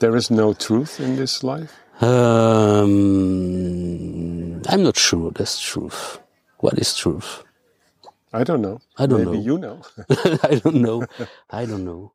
there is no truth in this life? Um, I'm not sure that's truth. What is truth? I don't know. I don't Maybe know. you know. I don't know. I don't know.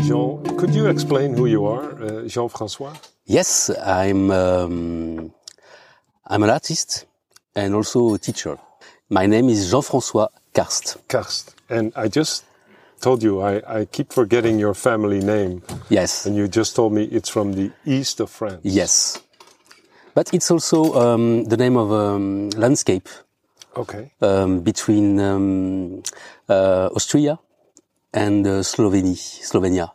Jean, could you explain who you are, uh, Jean Francois? Yes, I'm um, I'm an artist and also a teacher. My name is Jean-François Karst. Karst. And I just told you, I, I keep forgetting your family name. Yes. And you just told me it's from the east of France. Yes. But it's also um, the name of um, landscape Okay. um, between um, uh, Austria and uh, Slovenia. Slovenia,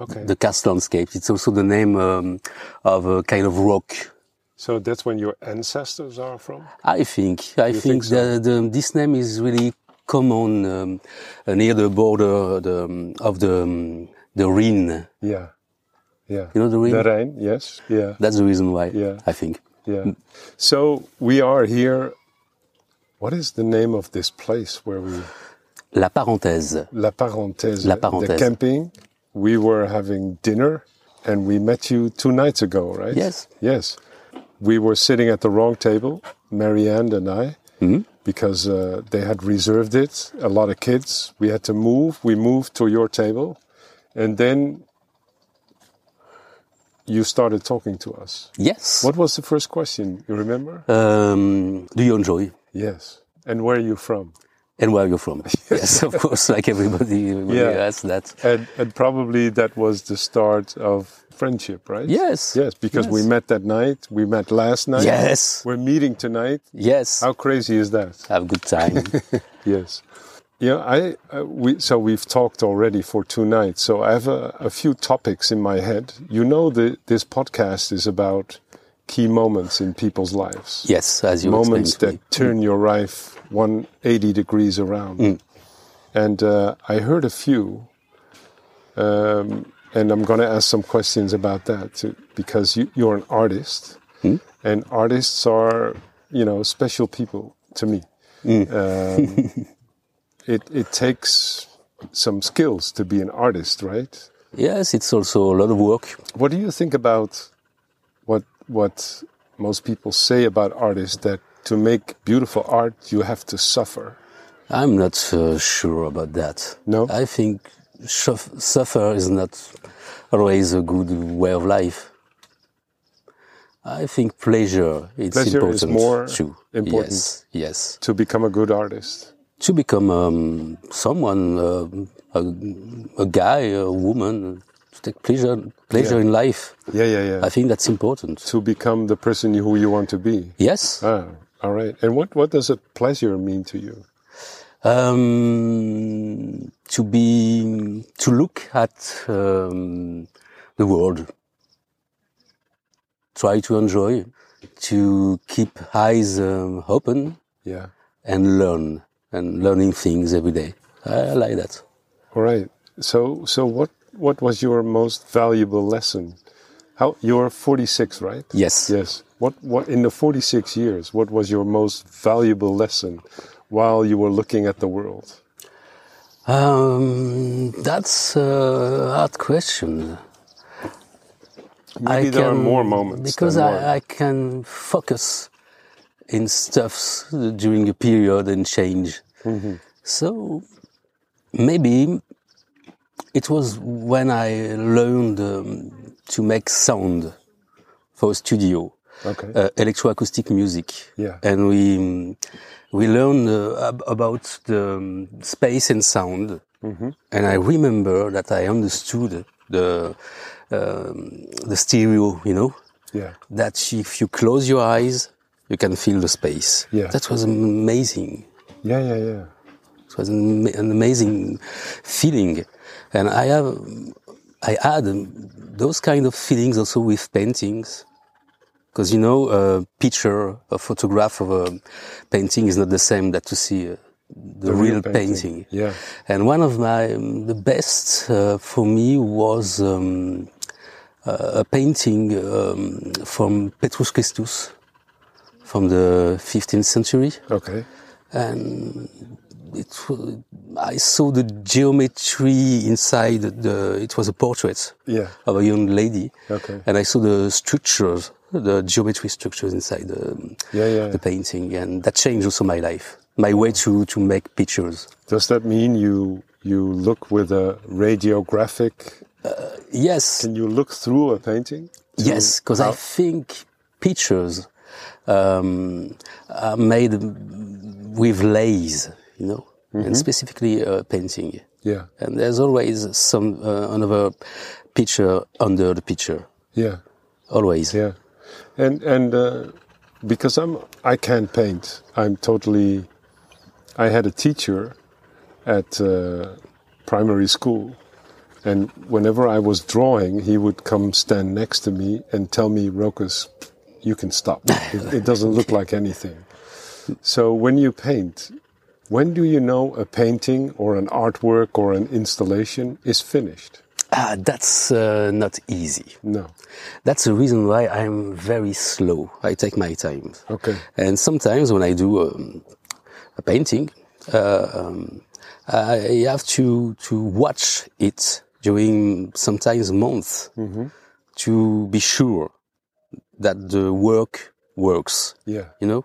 Okay. the karst landscape. It's also the name um, of a kind of rock. so that's when your ancestors are from? I think. I You think, think so? that um, this name is really common um, uh, near the border the, um, of the um, the Rhine. Yeah. Yeah. You know the Rhine. The Rhine, yes. Yeah. That's the reason why. Yeah. I think. Yeah. Mm. So we are here. What is the name of this place where we La parenthèse. La Parenthèse, La Parenthèse. the camping? We were having dinner and we met you two nights ago, right? Yes. Yes. We were sitting at the wrong table, Marianne and I, Mm-hmm. because uh, they had reserved it, a lot of kids. We had to move. We moved to your table. And then you started talking to us. Yes. What was the first question? You remember? Uh, Um, do you enjoy? Yes. And where are you from? And where are you from? yes, of course, like everybody, everybody Yeah. asks that. And, and probably that was the start of friendship, right? Yes. Yes, because we Yes. met that night. We met last night. Yes. We're meeting tonight. Yes. How crazy is that? Have a good time. Yes. Yeah, I uh, we so we've talked already for two nights. So I have a, a few topics in my head. You know, the, this podcast is about key moments in people's lives. yes, as you moments explained that turn your life 180 degrees around. And uh, I heard a few, um, and I'm going to ask some questions about that too, because you, you're an artist, and artists are, you know, special people to me. Um, it, it takes some skills to be an artist, right? to me. Yes, it's also a lot of work. What do you think about what what most people say about artists that to make beautiful art you have to suffer? I'm not uh, sure about that. No? I think suf- suffer is not always a good way of life. I think pleasure is Pleasure important is more too. important. Yes, yes. To become a good artist. To become um, someone, uh, a, a guy, a woman, to take pleasure pleasure in life. Yeah, yeah, yeah. I think that's important. to become the person you- who you want to be. Yes. Ah, all right. And what, what does a pleasure mean to you? Um, to be, to look at um, the world. Try to enjoy, to keep eyes um, open Yeah. and learn and learning things every day. I like that. All right. So so what what was your most valuable lesson? How you're 46, right? Yes. Yes. What what in the 46 years, what was your most valuable lesson while you were looking at the world? Um, that's a hard question. Maybe I there are can- more moments. because than I, one. I can focus in stuffs during a period and change. Mm-hmm. So maybe it was when I learned um, to make sound for a studio, Okay. uh, electroacoustic music, Yeah. and we um, we learned uh, ab- about the um, space and sound. Mm-hmm. And I remember that I understood the um, the stereo, you know, yeah. that if you close your eyes, you can feel the space. Yeah. That was amazing. Yeah, yeah, yeah. It was an, an amazing feeling, and I have, I had um, those kind of feelings also with paintings. Because you know, a picture, a photograph of a painting is not the same that to see uh, the, real painting. Yeah. And one of my um, the best uh, for me was um, uh, a painting um, from Petrus Christus from the 15th century, Okay. and it wa- I saw the geometry inside the. It was a portrait Yeah. of a young lady, Okay. and I saw the structures, the geometry structures inside the Yeah, yeah. the painting, and that changed also my life, my way to to make pictures. Does that mean you you look with a radiographic? Yes. Can you look through a painting? Yes, because I think pictures um, are made with lays, you know, Mm-hmm. and specifically uh, painting. Yeah. And there's always some uh, another picture under the picture, Yeah. always. Yeah. And and uh, because I'm I can't paint. I'm totally. I had a teacher at uh, primary school, and whenever I was drawing, he would come stand next to me and tell me, "Rokas, you can stop. It, it doesn't look like anything." So when you paint, when do you know a painting or an artwork or an installation is finished? Ah, that's uh, not easy. No. That's the reason why I'm very slow. I take my time. Okay. And sometimes when I do um, a painting, uh, um, I have to to watch it during sometimes months Mm-hmm. to be sure that the work works. Yeah. You know,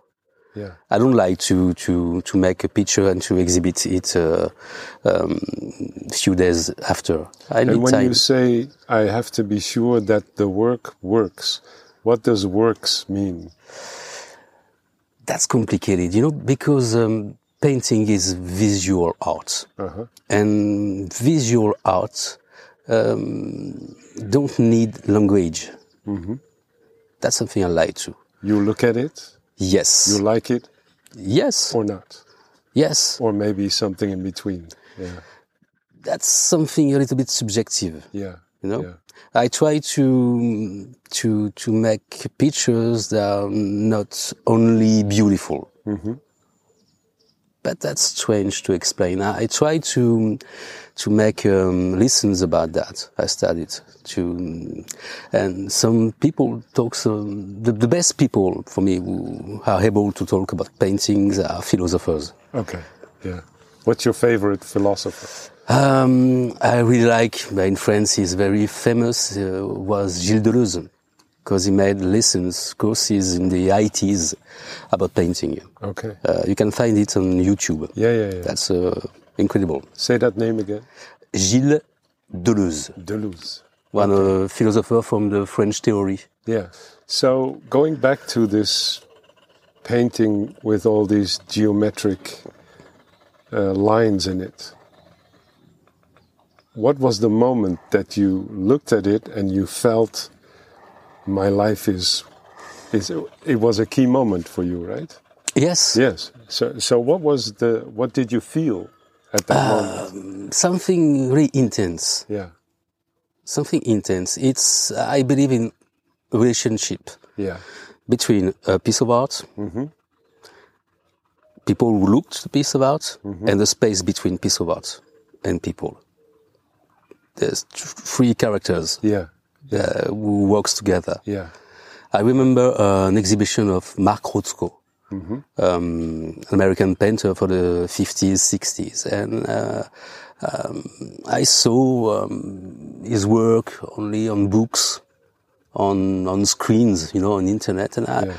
Yeah. I don't like to to to make a picture and to exhibit it a um, few days after. I need And when time. you say I have to be sure that the work works, what does works mean? that's complicated, you know, because um, painting is visual art, Uh-huh. and visual art um, don't need language. Mm-hmm. That's something I like to. You look at it, Yes, you like it yes, or not, yes. or maybe something in between. Yeah, That's something a little bit subjective, yeah, you know. yeah, I try to to to make pictures that are not only beautiful. but that's strange to explain. I, I try to to make um, lessons about that. I studied to, and some people talk. Some, the, the best people for me who are able to talk about paintings are philosophers. okay, yeah. What's your favorite philosopher? Um, I really like in France. He's very famous. Uh, was Gilles Deleuze because he made lessons courses in the ITs about painting. Okay, Uh, you can find it on YouTube. yeah, yeah, yeah. That's uh, incredible. Say that name again. Gilles Deleuze, Deleuze. one uh, philosopher from the French theory. Yeah. So going back to this painting with all these geometric uh, lines in it, what was the moment that you looked at it and you felt my life is is it was a key moment for you, right? Yes, Yes. So so what was the what did you feel at that moment? something really intense. Yeah. Something intense. It's I believe in relationship Yeah. between uh, a piece of art, people who looked the piece of art, and the space between piece of art and people. There's th- three characters Yeah. uh, who works together. Yeah. I remember uh, an exhibition of Mark Rothko, um, an American painter for the 50s, 60s, and uh, um, I saw um, his work only on books, on on screens, you know, on internet, and I, Yeah.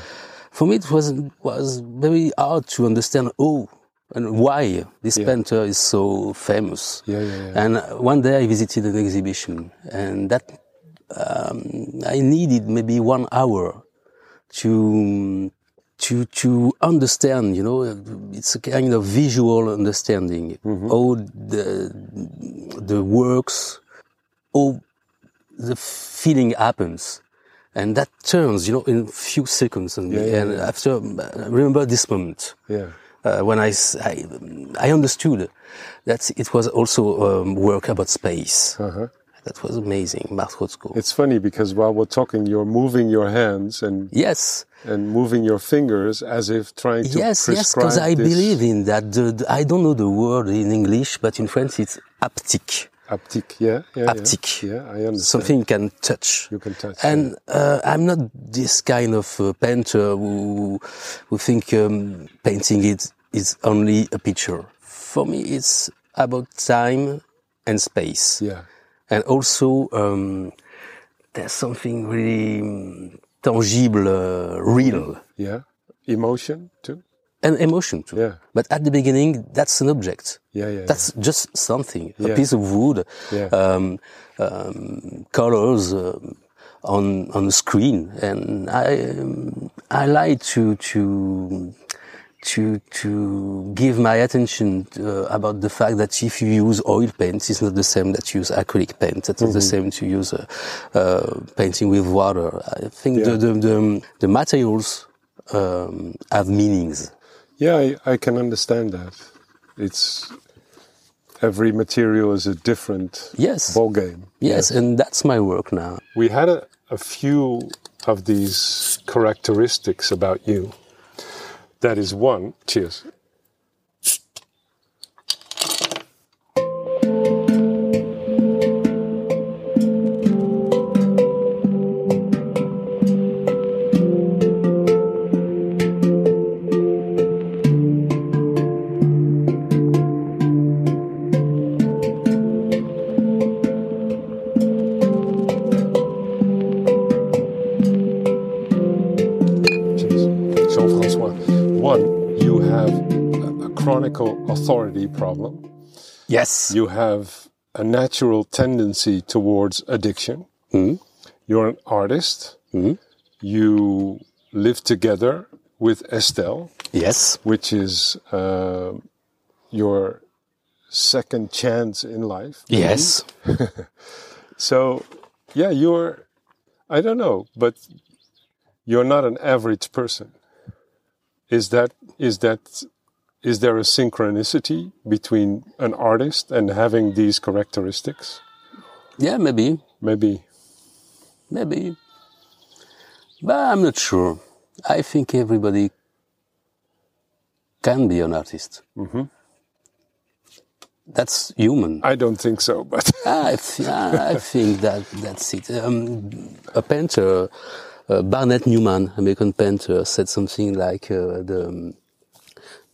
for me it was was very hard to understand. Oh. And why this painter is so famous? Yeah, yeah, yeah. And uh, one day I visited an exhibition, and that um, I needed maybe one hour to to to understand. You know, it's a kind of visual understanding. Mm-hmm. All the the works, all the feeling happens, and that turns. You know, in few seconds. And, yeah, and after, I remember this moment Yeah. uh, when I, s- I, I understood that it was also um, work about space. Uh-huh. That was amazing, Martrotsko. It's funny because while we're talking, you're moving your hands and, Yes, and moving your fingers as if trying to yes, yes, prescribe because I this believe in that. The, the- I don't know the word in English, but in French it's haptic. Aptique, yeah, yeah, yeah. Aptique. Yeah, I understand. something you can touch. uh, You can touch, And uh, I'm not this kind of uh, painter who, who think um, painting it is only a picture. For me, it's about time and space. Yeah, And also, um, there's something really mm, tangible, uh, real, yeah. Emotion too. and emotion too. Mm-hmm. Yeah. But at the beginning, that's an object. Yeah, yeah. That's just something, Yeah. a piece of wood, Yeah. um, um, colors um, on on a screen, and I um, I like to to to to give my attention uh, about the fact that if you use oil paints, it's not the same that you use acrylic paint. It's not the same to use uh, uh, painting with water. I think the, the the the materials um, have meanings. yeah. Yeah, I, I can understand that. It's every material is a different Yes. ball game. Yes, and that's my work now. We had a, a few of these characteristics about you. That is one. Cheers. Cheers. Jean Francois. One, you have a, a chronical authority problem. Yes. You have a natural tendency towards addiction. You're an artist. You live together with Estelle, Yes. which is uh, your second chance in life. Yes. So, yeah, you're, I don't know, but you're not an average person. Is that, is that, is there a synchronicity between an artist and having these characteristics? Yeah, maybe. Maybe. Maybe. But I'm not sure. I think everybody can be an artist. Mm-hmm. That's human. Ah, I don't think so, but I, th- I think that that's it. Um, a painter, uh, Barnett Newman, American painter, said something like uh, the,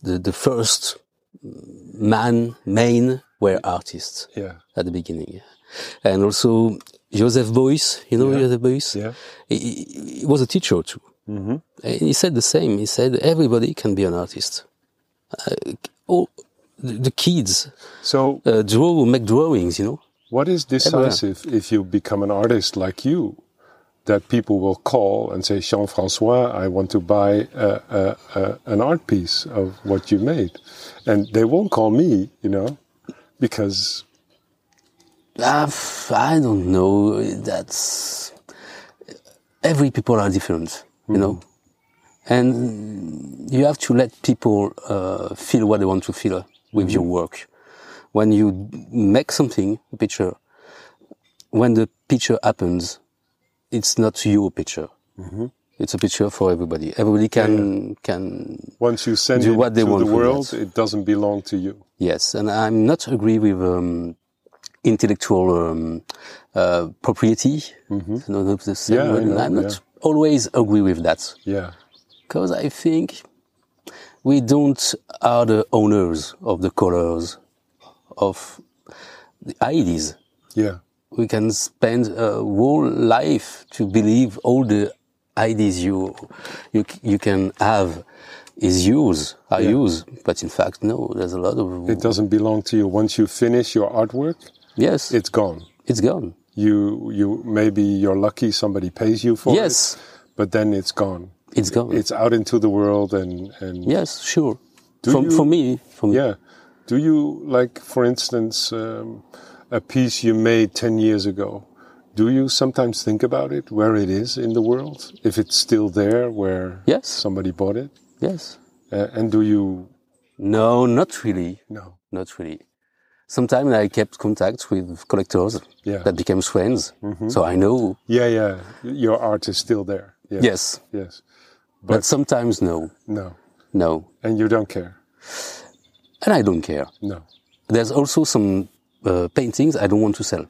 the the first man, men were artists. yeah. at the beginning. And also Joseph Beuys, you know Joseph Beuys? Yeah. He, he- he was a teacher too. And he said the same. He said everybody can be an artist. Uh, all the, the kids So, uh, draw, make drawings, you know. what is decisive if you become an artist like you? That people will call and say, Jean Francois, I want to buy a, a, a, an art piece of what you made. And they won't call me, you know, because Ah, f- I don't know. That's every people are different, you know, and you have to let people uh, feel what they want to feel with your work. When you make something, a picture, when the picture happens, it's not your picture. It's a picture for everybody. Everybody can can Once you send Do it what they to want the from world, that. it doesn't belong to you. Yes, and I'm not agree with um, intellectual um, uh, propriety. No, no, the same Mm-hmm. Yeah, I word. know, I'm not yeah. always agree with that Yeah, because I think we don't are the owners of the colors of the ideas. yeah, We can spend a whole life to believe all the ideas you you c- you can have is yours are yours, but in fact no. There's a lot of it doesn't belong to you. Once you finish your artwork, yes. it's gone. it's gone. You, you maybe you're lucky somebody pays you for Yes. it, but then it's gone. It's gone. It's out into the world, and and yes, sure. For, you- for me, for me. yeah. Do you like, for instance, um, a piece you made ten years ago? Do you sometimes think about it, where it is in the world, if it's still there, where Yes. somebody bought it, Yes. uh, and do you No, not really. no? Not really. Sometimes I kept contact with collectors Yeah. that became friends. So I know, Yeah, yeah. Your art is still there. Yeah. yes, Yes. but, sometimes no, No. no. And you don't care. And I don't care. No. There's also some uh, paintings I don't want to sell.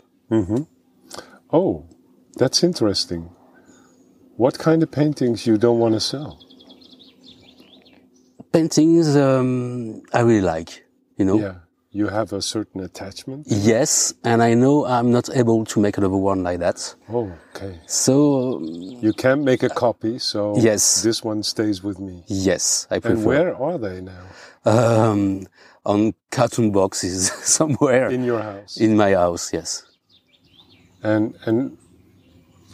Oh, that's interesting. What kind of paintings you don't want to sell? Paintings um, I really like, you know. Yeah. You have a certain attachment? Yes, and I know I'm not able to make another one like that. Oh, okay. So um, You can't make a copy, so Yes. this one stays with me. yes, I And prefer where are they now? um, on cartoon boxes somewhere In your house. in my house. Yes. And and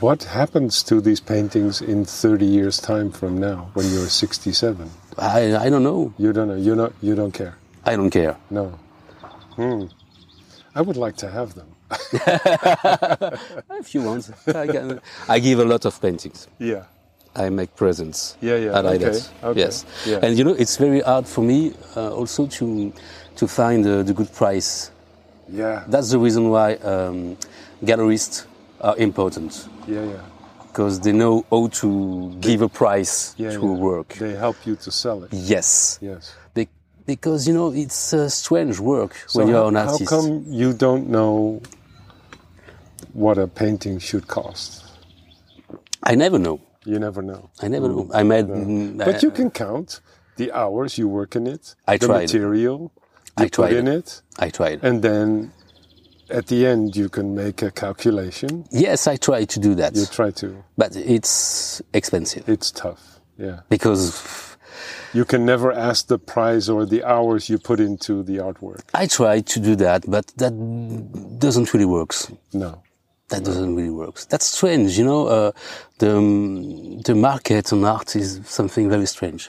what happens to these paintings in 30 years time from now when you're 67? I, I don't know. You don't know. You not you don't care. I don't care. No. Hmm. I would like to have them. If you want, I, can, I give a lot of paintings. Yeah. I make presents. Yeah, yeah, I like okay, that. okay, Yes. yeah. And you know, it's very hard for me uh, also to to find uh, the good price. Yeah. That's the reason why um, gallerists are important yeah, yeah. because they know how to give a price Yeah. to yeah. a work. They help you to sell it. Yes. Yes. Be- because you know, it's a strange work when So you're how, an how artist. come you don't know what a painting should cost? I never know. You never know. I never know. I made. Mm. But you can count the hours you work in it, I the tried. material I you tried. put in it. I tried. and then at the end you can make a calculation Yes, I tried to do that, you try to but it's expensive it's tough yeah because you can never ask the price or the hours you put into the artwork I tried to do that, but that doesn't really works. no That doesn't really work. That's strange, you know. Uh, the um, the market on art is something very strange.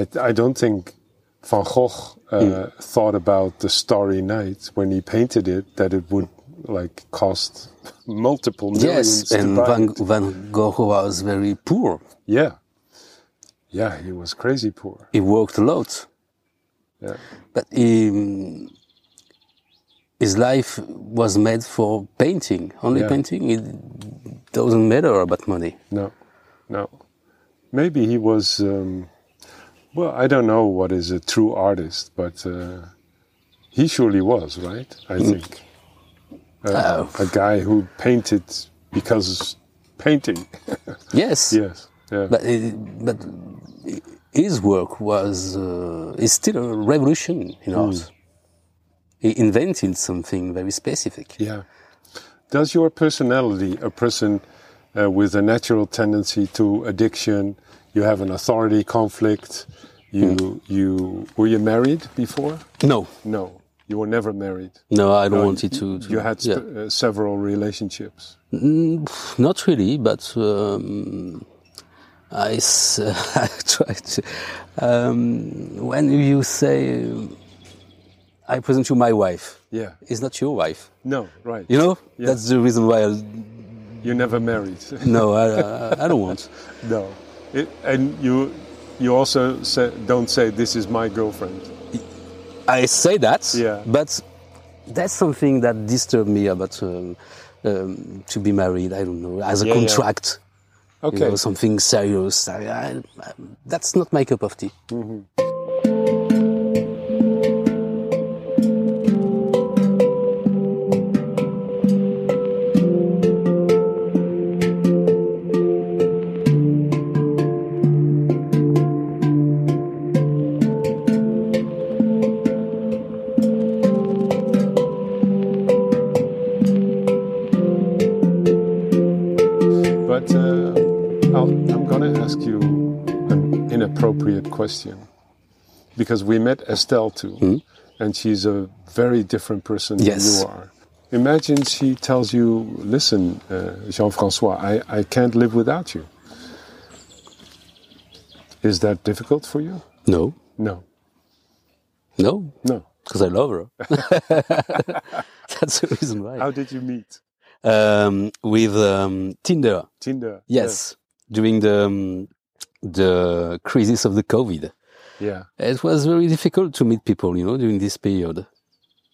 i, I don't think van gogh uh, Hmm. thought about the starry night when he painted it that it would like cost multiple millions yes, and to buy Van, it. Van Gogh was very poor. yeah yeah he was crazy poor He worked a lot, yeah but he, um, his life was made for painting, only Yeah. painting. It doesn't matter about money. No, no. Maybe he was. Um, well, I don't know what is a true artist, but uh, he surely was, right? I Hmm. think uh, a guy who painted because painting. Yes, yes. Yeah. but it, but his work was uh, is still a revolution in Hmm. art. He invented something very specific. yeah. Does your personality, a person uh, with a natural tendency to addiction, you have an authority conflict? You, Hmm. you were you married before? No, No, you were never married. no, I don't want it to. to You had yeah. sp- uh, several relationships. Mm, pff, not really, but um, I, s- I try to. Um, when you say, um, I present you my wife, Yeah. it's not your wife. No, right. You know, Yeah. that's the reason why. I, You're never married. no, I, I, I don't want. no. It, and you, you also say, don't say this is my girlfriend. I say that, Yeah. but that's something that disturbed me about um, um, to be married. I don't know as a Yeah, yeah. contract, Okay. you know, something serious. I, I, I, that's not my cup of tea. But uh, I'll, I'm going to ask you an inappropriate question because we met Estelle too, and she's a very different person Hmm? Yes. than you are. Imagine she tells you, "Listen, uh, Jean-François, I, I can't live without you." Is that difficult for you? No, No, no, no. because I love her. that's the reason why. How did you meet? Um, with um, Tinder, Tinder. yes, during the um, the crisis of the COVID, Yeah. it was very difficult to meet people. You know, during this period.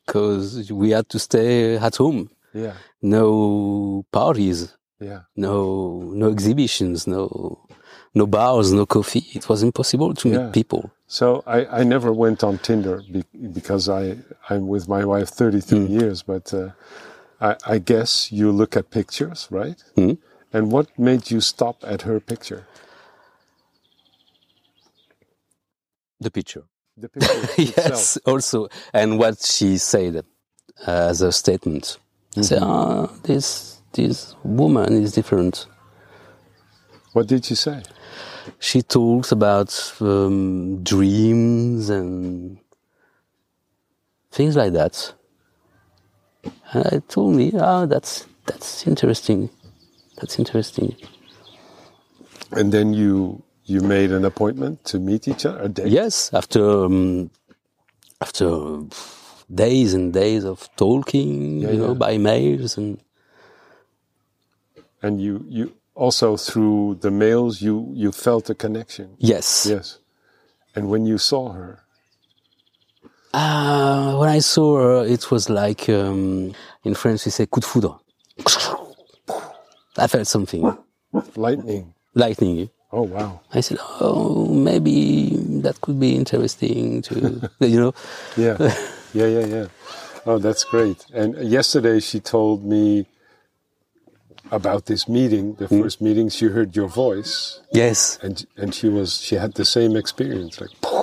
because we had to stay at home. Yeah. No parties, Yeah. no no exhibitions, no no bars, no coffee. It was impossible to meet Yeah. people. So I, I never went on Tinder be, because I I'm with my wife 33 years, but uh, I, I guess you look at pictures, right? And what made you stop at her picture? The picture. The picture yes, also, and what she said uh, as a statement. Say, Mm-hmm. ah, this this woman is different. What did you say? She talks about um, dreams and things like that. And I told me, ah, that's that's interesting. That's interesting. And then you you made an appointment to meet each other. A date? Yes, after um, after days and days of talking, you know, yeah. by mails and And you you also through the mails you you felt a connection. yes, Yes. And when you saw her, Uh, when I saw her, it was like um, in French we say coup de foudre. I felt something, lightning. lightning. Oh wow. I said, "Oh, maybe that could be interesting to you know." Yeah, yeah, yeah, yeah. Oh, that's great. And yesterday she told me about this meeting, Hmm. the first meeting. She heard your voice, Yes, and and she was she had the same experience, like "Pow!"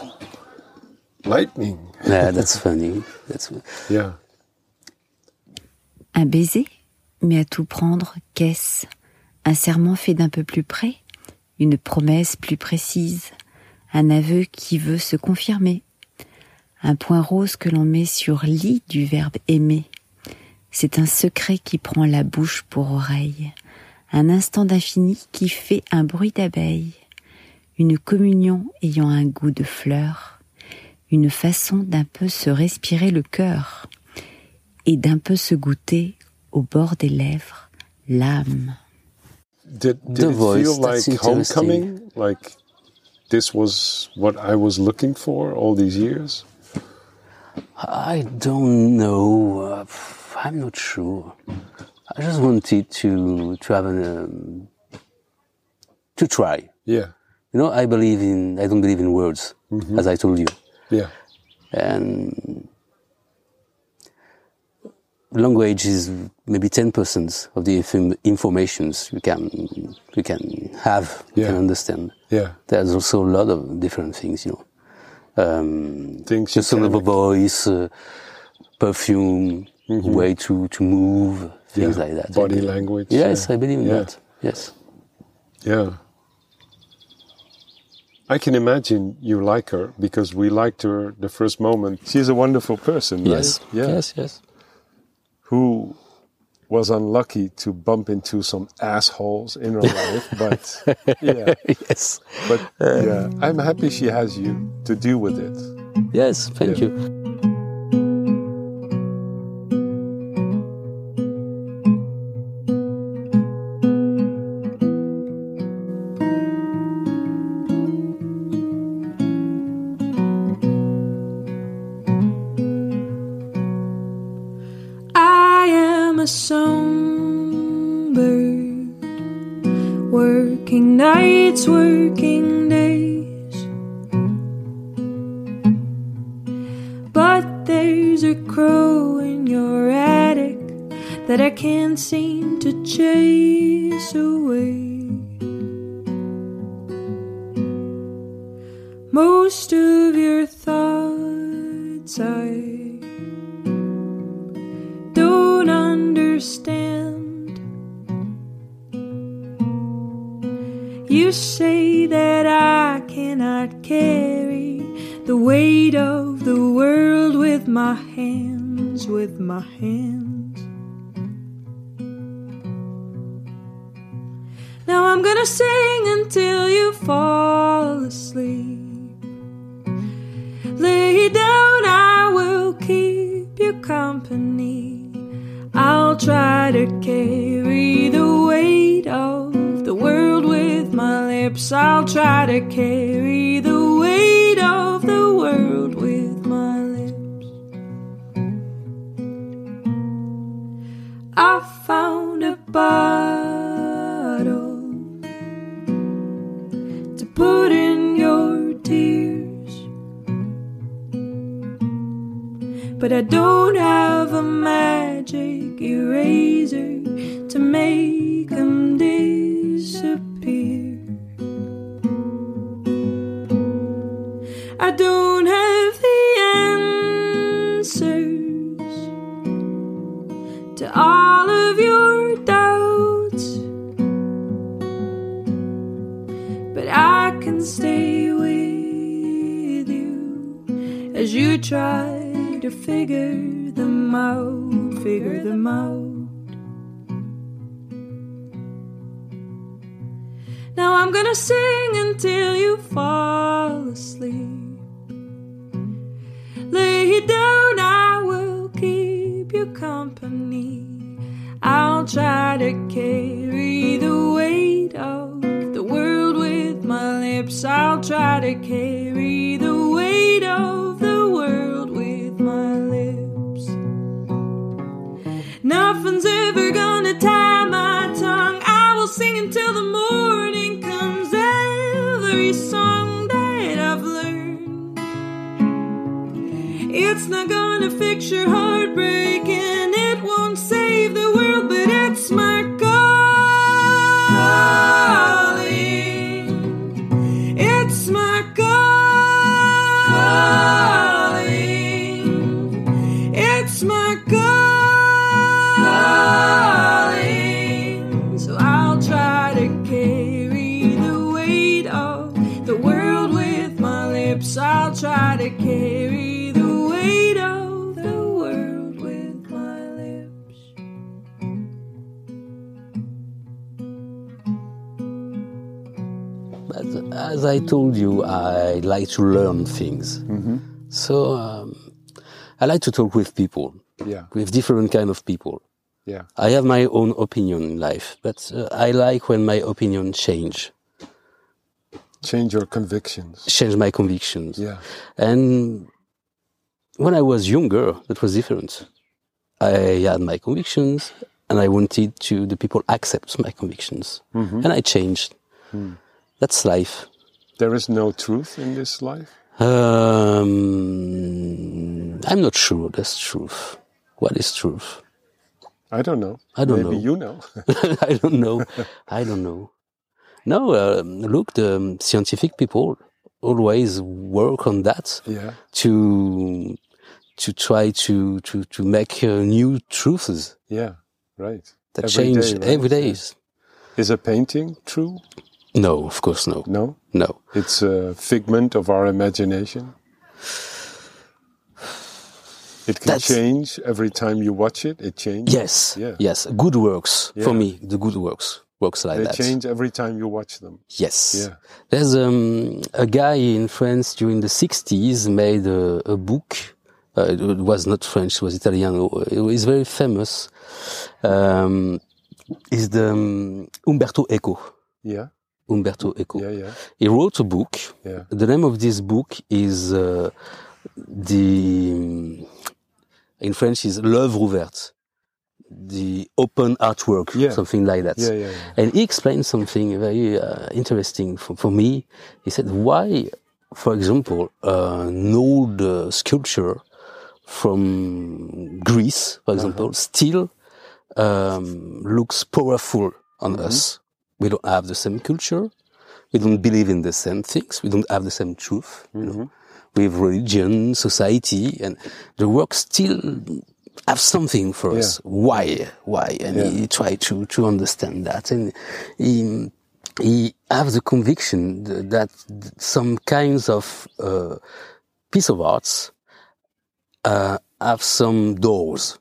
lightning. yeah, that's funny. That's Yeah, Un baiser, mais à tout prendre, qu'est-ce Un serment fait d'un peu plus près, une promesse plus précise, un aveu qui veut se confirmer, un point rose que l'on met sur l'i du verbe aimer. C'est un secret qui prend la bouche pour oreille, un instant d'infini qui fait un bruit d'abeille, une communion ayant un goût de fleur, une façon d'un peu se respirer le cœur et d'un peu se goûter au bord des lèvres l'âme. did, did The it voice, feel like that's homecoming? Like this was what I was looking for all these years. I don't know. Uh, I'm not sure. I just wanted to to have an um, to try. Yeah, You know, I believe in. I don't believe in words, as I told you. yeah, and language is maybe 10% of the inform- informations you can you can have you Yeah. can understand yeah. there's also a lot of different things you know um, Things the you sound of a can- voice uh, perfume way to to move things Mm-hmm. Yeah. like that Body I believe- language, yes yeah. i believe in Yeah. that yes Yeah. I can imagine you like her because we liked her the first moment. She's a wonderful person, right? yes Yeah. yes yes Who was unlucky to bump into some assholes in her life, but yeah, yes but yeah, I'm happy she has you to deal with it. yes thank Yeah. you I am a songbird, working nights, working days. But there's a crow in your attic that I can't seem to chase away. Most of your thoughts I don't understand. You say that I cannot carry the weight of the world with my hands, with my hands. Now I'm gonna sing until you fall asleep. Lay down, I will keep you company. I'll try to carry the weight of the world with my lips. I'll try to carry the weight of the world with my lips. But I don't have a magic eraser to make them disappear. I don't have the answers to all of your doubts, but I can stay with you as you try to figure them out, figure them out. Now I'm gonna sing until you fall asleep. Lay you down, I will keep you company. I'll try to carry the weight of the world with my lips. I'll try to carry the weight of the world with my lips. Nothing's ever gonna tie my tongue. I will sing until the morning comes. Every song that I've learned, it's not gonna fix your heartbreak and it won't save the world, but it's my calling. It's my calling. It's my calling. So I'll try to carry the weight of the world with my lips. I'll try to carry the weight of the world with my lips. But as I told you, I like to learn things. So um, I like to talk with people, Yeah. with different kind of people. Yeah. I have my own opinion in life, but uh, I like when my opinion change, Change your convictions. change my convictions. Yeah. And when I was younger, that was different. I had my convictions, and I wanted to the people accept my convictions, and I changed. That's life. There is no truth in this life. Um, I'm not sure. That's truth. What is truth? I don't know. I don't Maybe know. you know. I don't know. I don't know. No, um, look, the scientific people always work on that yeah. to to try to to to make uh, new truths Yeah. Right. that Every change day, right? every day. Is a painting true? No, of course, no, No. no. It's a figment of our imagination. It can That's- change every time you watch it. It changes. Yes, Yeah. yes. Good works for Yeah. me. The good works works like They that. change every time you watch them. Yes. Yeah. There's um, a guy in France during the 60s made a, a book. Uh, it was not French, it was Italian. It was very famous. Um, is the um, Umberto Eco. Yeah. Umberto Eco. Yeah. Yeah. He wrote a book. Yeah. The name of this book is uh, the in French is l'œuvre ouverte, the open artwork, Yeah. something like that. Yeah. Yeah. yeah. And he explained something very uh, interesting for, for me. He said, why, for example, uh, an old uh, sculpture from Greece, for example, still um, looks powerful on us? We don't have the same culture. We don't believe in the same things. We don't have the same truth. you know. We have religion, society, and the work still have something for us. Why? Why? And he tried to, to understand that. And he, he have the conviction th- that some kinds of uh, piece of arts uh, have some doors.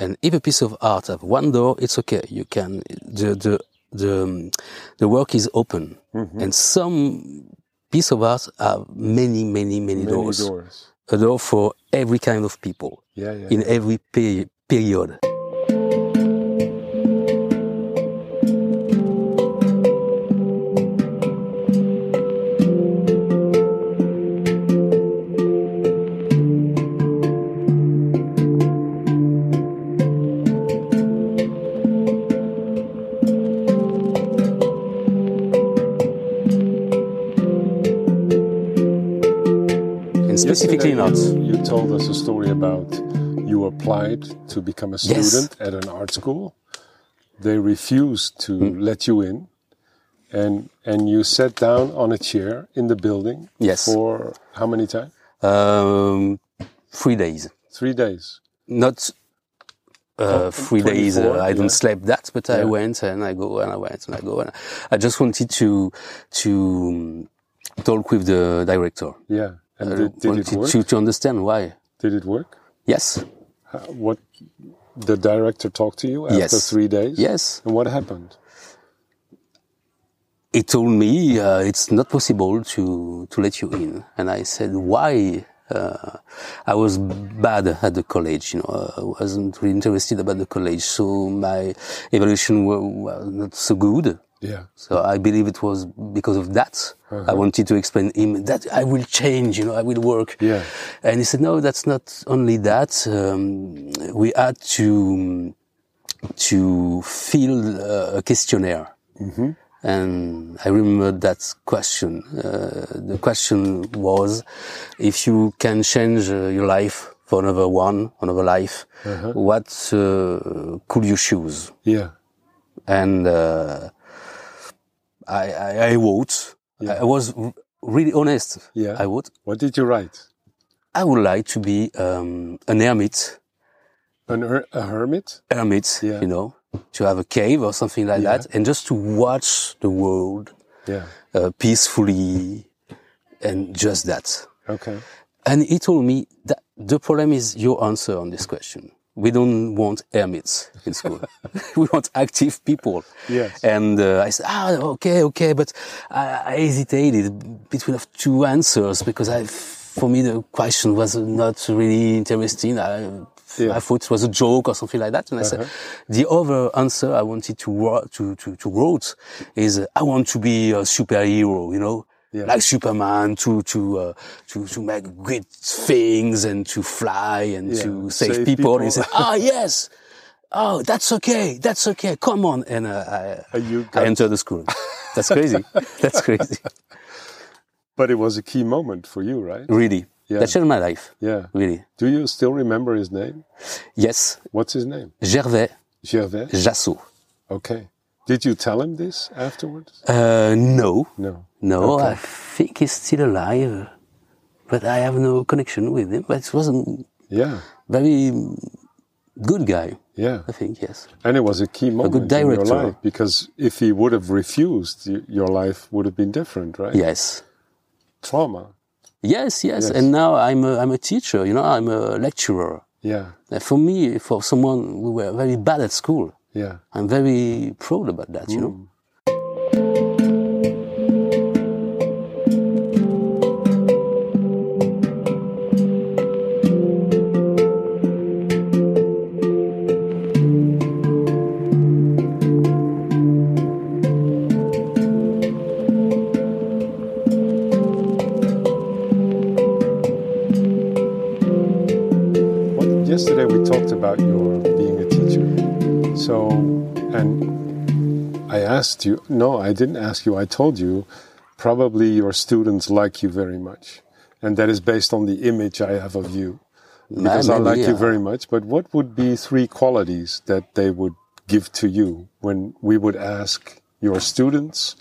And if a piece of art have one door, it's okay. You can the the the, um, the work is open. And some piece of art have many many many, Many doors. doors. A door for every kind of people Yeah. Yeah. in every peri- period. In Italian, specifically not. You told us a story about you applied to become a Yes. student at an art school. They refused to Hmm. let you in, and and you sat down on a chair in the building Yes. for how many times? Um, three days. Three days. Not uh, three days. Uh, 24, I don't Oh, yeah. sleep that, but I Yeah. went and I go and I went and I go and I, I just wanted to to um, talk with the director. Yeah. And I did, did it wanted work? to, to understand why. Did it work? Yes. How- What the director talked to you after Yes. three days? Yes. And what happened? he told me uh, it's not possible to to let you in, and I said why. Uh, I was bad at the college, you know. uh, I wasn't really interested about the college, so my evaluation wa- was not so good. Yeah. So I believe it was because of that. I wanted to explain him that I will change, you know, I will work. Yeah. And he said, no, that's not only that. Um, we had to to fill uh, a questionnaire. And I remember that question. Uh, the question was, if you can change uh, your life for another one, another life, what uh, could you choose? Yeah. and uh, I, I, I wrote. I I was r- really honest. Yeah. I wrote. What did you write? I would like to be um, an hermit, An her- a hermit? hermit, Yeah. you know, to have a cave or something like Yeah. that, and just to watch the world Yeah. uh, peacefully, and just that. Okay. And he told me that the problem is your answer on this question. We don't want hermits in school. we want active people. Yes. And uh, I said, ah, okay, okay, but I, I hesitated between of two answers because I, for me, the question was not really interesting. I, Yeah. Uh-huh. I thought it was a joke or something like that. And I said, the other answer I wanted to wo- to to, to wrote is uh, I want to be a superhero, you know, Yeah. like Superman to to uh, to to make great things and to fly and Yeah, to save, save people. And people. he said, ah yes, oh that's okay, that's okay, come on. And uh, I Uh, you I got- entered the school. That's crazy. that's crazy. But it was a key moment for you, right? Really, Yeah. that changed my life. Yeah. Really, Do you still remember his name? yes, What's his name? Gervais Gervais? Jassot. Okay. Did you tell him this afterwards? Uh, no. No. No, Okay. I think he's still alive, but I have no connection with him. But he was a Yeah. very good guy, Yeah. I think, yes. And it was a key moment in director. your life because if he would have refused, y- your life would have been different, right? Yes. Trauma. Yes, yes. Yes. And now I'm a, I'm a teacher, you know, I'm a lecturer. Yeah. And for me, for someone who were very bad at school, Yeah. I'm very proud about that, you know. What, yesterday we talked about your being a teacher. So, and I asked you, no, I didn't ask you, I told you, probably your students like you very much. And that is based on the image I have of you. Because I maybe, like you yeah. very much. But what would be three qualities that they would give to you when we would ask your students,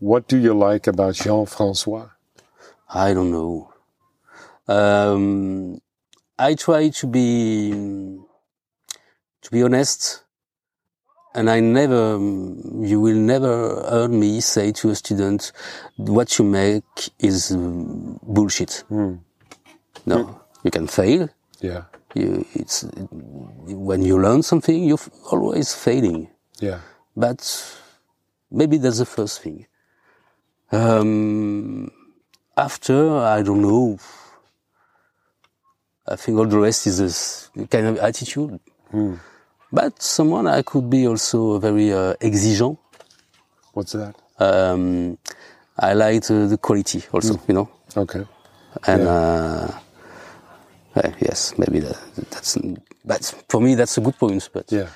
what do you like about Jean Francois? I don't know. Um, I try to be to be honest, and I never. You will never hear me say to a student, "What you make is um, bullshit." No, you can fail. Yeah, You, it's when you learn something, you're f- always failing. yeah, But maybe that's the first thing. Um, after, I don't know. I think all the rest is this kind of attitude. But someone I could be also very uh, exigeant. what's that? Um, I like uh, the quality also, you know. Okay. And uh, eh, yes, maybe that, that's. But for me, that's a good point. But Yeah,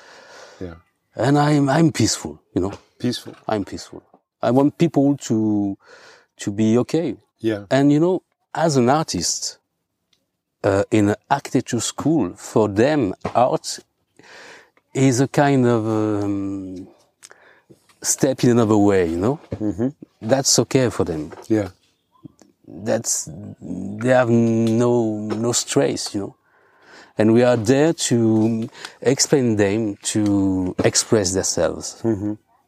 yeah. and I'm I'm peaceful, you know. Peaceful. I'm peaceful. I want people to to be okay. Yeah. And you know, as an artist uh, in an architecture school, for them, art is a kind of um, step in another way, you know? That's okay for them. Yeah. That's, they have no, no stress, you know? And we are there to explain them to express themselves.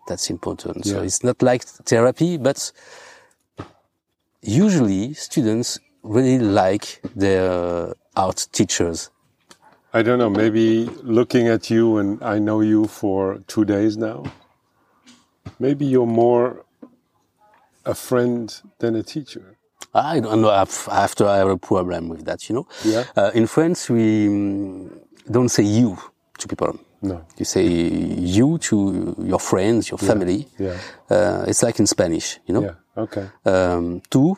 That's important. So Yeah. it's not like therapy, but usually students really like their art teachers. I don't know, maybe looking at you and I know you for two days now, maybe you're more a friend than a teacher. I don't know. I've, after I have a problem with that, you know. Yeah. Uh, in France, we mm, don't say you to people. No. You say you to your friends, your family. Yeah. Uh, it's like in Spanish, you know. Yeah. Mm-hmm. Okay. um, tu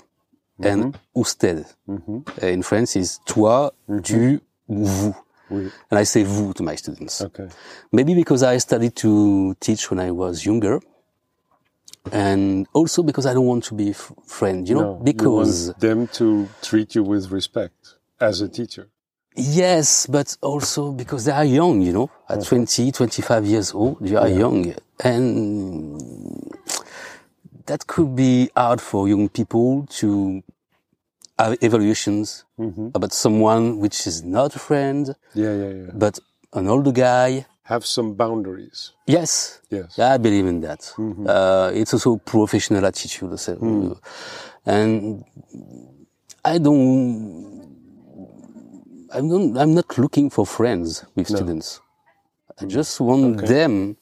and usted. Uh, In French is toi, tu, ou vous. Mm-hmm. Oui. And I say vous to my students. Okay. Maybe because I studied to teach when I was younger. And also because I don't want to be f- friend, you know, No, because you want them to treat you with respect as a teacher. yes, but also because they are young, you know, at 20, 25 years old, you are young. And that could be hard for young people to have evaluations about someone which is not a friend, Yeah, yeah, yeah. but an older guy. Have some boundaries. Yes. Yes. Yeah, I believe in that. Uh, it's also professional attitude. So, And I don't, I'm not, I'm not looking for friends with students. I just want them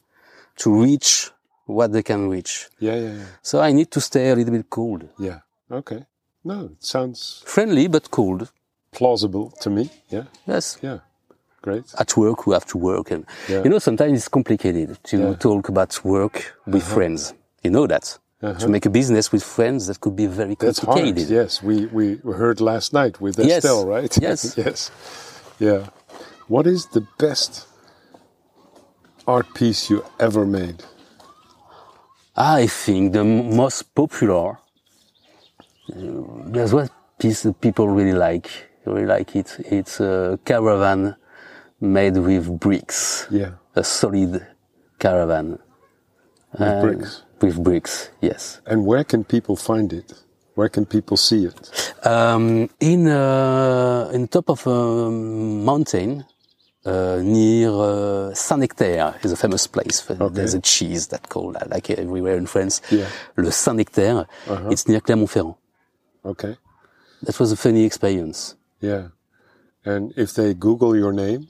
to reach what they can reach. Yeah, yeah, yeah. So I need to stay a little bit cold. Yeah. Okay. No, it sounds Friendly, but cold. plausible to me. Yeah. Yes. Yeah. Great. At work, we have to work. And, Yeah. you know, sometimes it's complicated to Yeah. Uh-huh. talk about work with friends. You know that. To make a business with friends, that could be very That's hard. complicated. Yes, we, we heard last night with Yes. Estelle, right? Yes. yes. Yeah. What is the best art piece you ever made? I think the m- most popular, uh, there's one piece that people really like. Really like it. It's a caravan made with bricks. Yeah. A solid caravan. And- bricks. With bricks, yes. And where can people find it? Where can people see it? Um, in uh, in top of a mountain uh, near uh, Saint Nectaire is a famous place. For, There's a cheese that called uh, like everywhere in France. Yeah. Uh-huh. Le Saint Nectaire. It's near Clermont-Ferrand. Okay. That was a funny experience. Yeah. And if they Google your name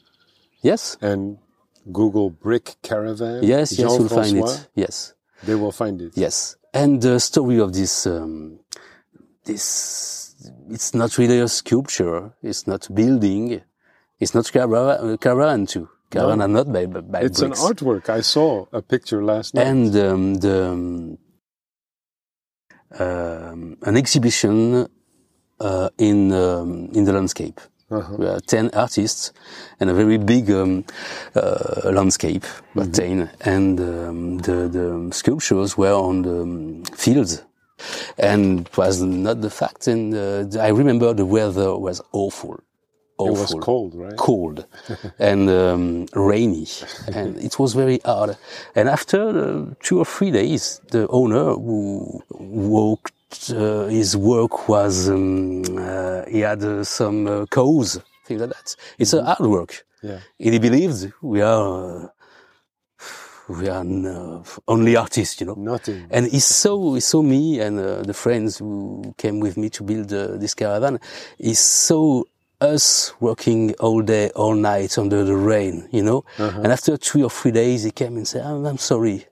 Yes. and Google Brick Caravan, Yes. Yes. You'll find Jean-François, it. Yes. They will find it. Yes. And the story of this um, this it's not really a sculpture. It's not building. It's not caravan, caravan too. Caravan are not by, by It's bricks. an artwork. I saw a picture last night. and um, the um, um, an exhibition uh, in um, in the landscape. Uh-huh. We are ten artists and a very big um, uh, landscape, Mm-hmm. about ten, and um, the, the sculptures were on the um, fields, and it was not the fact. And uh, I remember the weather was awful, it was awful cold, right? cold and um, rainy, and it was very hard. And after uh, two or three days, the owner who worked, uh, his work was um, uh, he had uh, some uh, cows, things like that. It's a hard work. Yeah. And he believed we are uh, we are uh, only artists, you know. Nothing. And he saw, he saw me and uh, the friends who came with me to build uh, this caravan. He saw us working all day, all night under the rain, you know. Uh-huh. And after two or three days, he came and said, I'm, I'm sorry.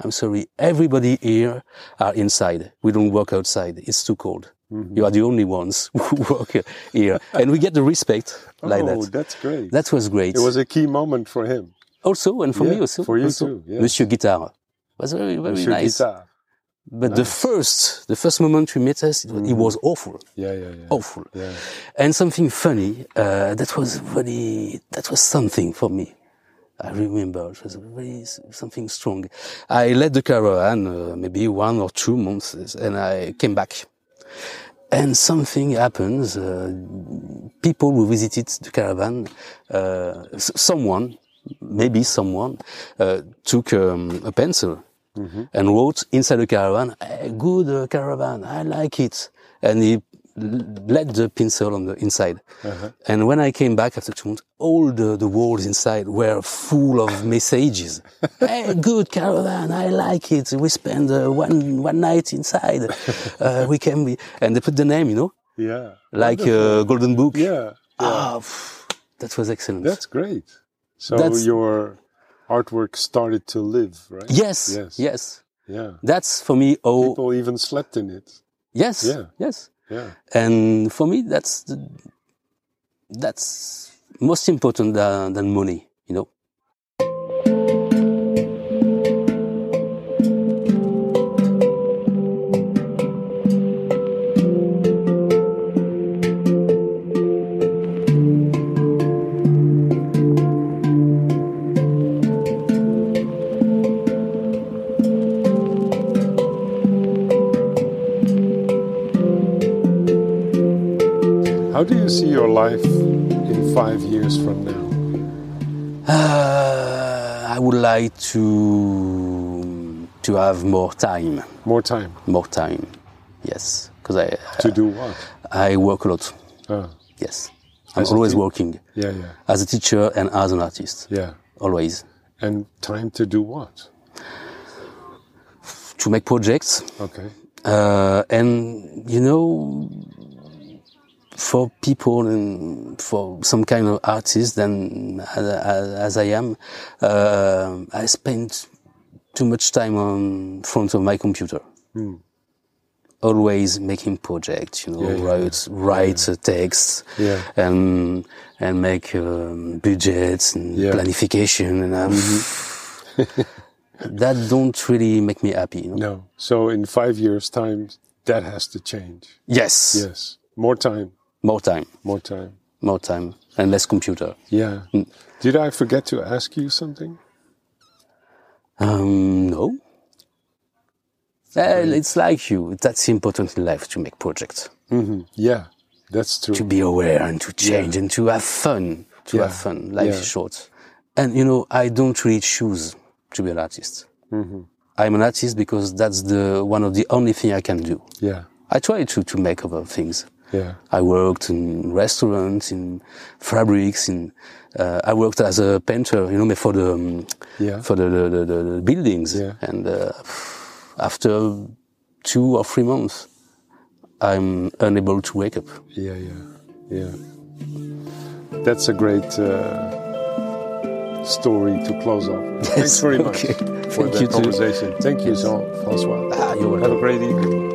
I'm sorry. Everybody here are inside. We don't work outside. It's too cold. Mm-hmm. You are the only ones who work here. and we get the respect like oh, that. that's great. That was great It was a key moment for him. also, and for Yeah, me also, for you also, too, yes. Monsieur Guitar was very very Monsieur nice. Guitar. But the first, the first moment we met us, it, wa- it was awful, Yeah, yeah, yeah. awful, Yeah. and something funny. Uh, that was really, that was something for me. I remember it was really s- something strong. I led the caravan uh, maybe one or two months, and I came back, and something happens. Uh, people who visited the caravan, uh, s- someone, maybe someone, uh, took um, a pencil and wrote inside the caravan, "Eh, "Good uh, caravan, I like it," and he l- let the pencil on the inside. And when I came back after two months, all the, the walls inside were full of messages. hey, good caravan, I like it. We spend uh, one one night inside. Uh, we can be, and they put the name, you know, Yeah. like uh, Golden Book. Yeah. Ah, pff, that was excellent. That's great. So That's- your artwork started to live, right? yes, Yes. yes, Yeah. That's for me. Oh, People even slept in it. yes, Yeah. yes. Yeah. And for me, that's the, that's most important than, than money, you know. How do you see your life in five years from now? Uh, I would like to to have more time, More time more time. Yes, because I to do what? I work a lot. Ah, Yes, I'm As a always tea- working yeah, yeah, as a teacher and as an artist. yeah. Always And time to do what? to make projects Okay. uh, and you know for people and for some kind of artist then as, as, as i am uh, i spend too much time on front of my computer always making projects you know Hmm. Yeah, yeah, write write a text Yeah. and and make um, budgets and Yeah. Mm-hmm. planification and I'm, that don't really make me happy you know? No. So in five years' time, that has to change. yes Yes. More time. more time More time. more time and less computer. Yeah. Did I forget to ask you something? Um, no. Well, it's like you. That's important in life to make projects, Yeah. That's to true. be aware and to change and to have fun. To Yeah. have fun. Life Yeah. is short. And you know, I don't really choose to be an artist. Mm-hmm. I'm an artist because that's the one of the only thing I can do. Yeah. I try to, to make other things. Yeah. I worked in restaurants, in fabrics, in uh, I worked as a painter, you know, for the um, Yeah. for the, the, the, the the buildings. Yeah. And uh, after two or three months, I'm unable to wake up. Yeah, yeah, yeah. That's a great uh, story to close off. Thanks very much okay. for Thank the you too. conversation. Thank you, Jean Francois. Ah, you're Have a welcome. great evening.